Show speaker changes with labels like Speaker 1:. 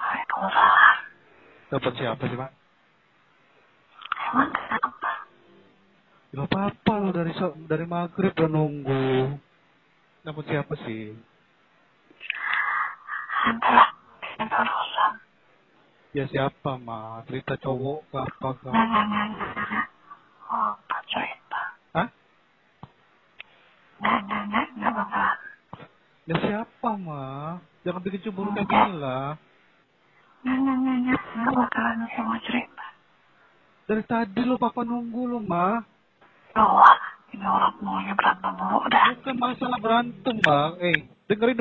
Speaker 1: orang.
Speaker 2: Telepon siapa sih, Pak?
Speaker 1: Emang kenapa?
Speaker 2: Gak Ya, apa-apa lo dari so- dari maghrib udah nunggu. Telepon siapa sih?
Speaker 1: Ada ada urusan.
Speaker 2: Ya siapa, Ma? Cerita cowok ke apa ke?
Speaker 1: Nah, nah, nah, nah, nah. Oh, Pak cerita.
Speaker 2: Hah?
Speaker 1: Nah, nah, nah, nah, nah, nah.
Speaker 2: Ya siapa, Ma? Jangan bikin cemburu kayak gini lah.
Speaker 1: Nah, nah, nah, nah, nah, bakalan semua cerita.
Speaker 2: Dari tadi lo papa nunggu lo, Ma.
Speaker 1: Wah, ini orang maunya berantem mulu udah.
Speaker 2: Bukan masalah berantem, Bang. Eh, dengerin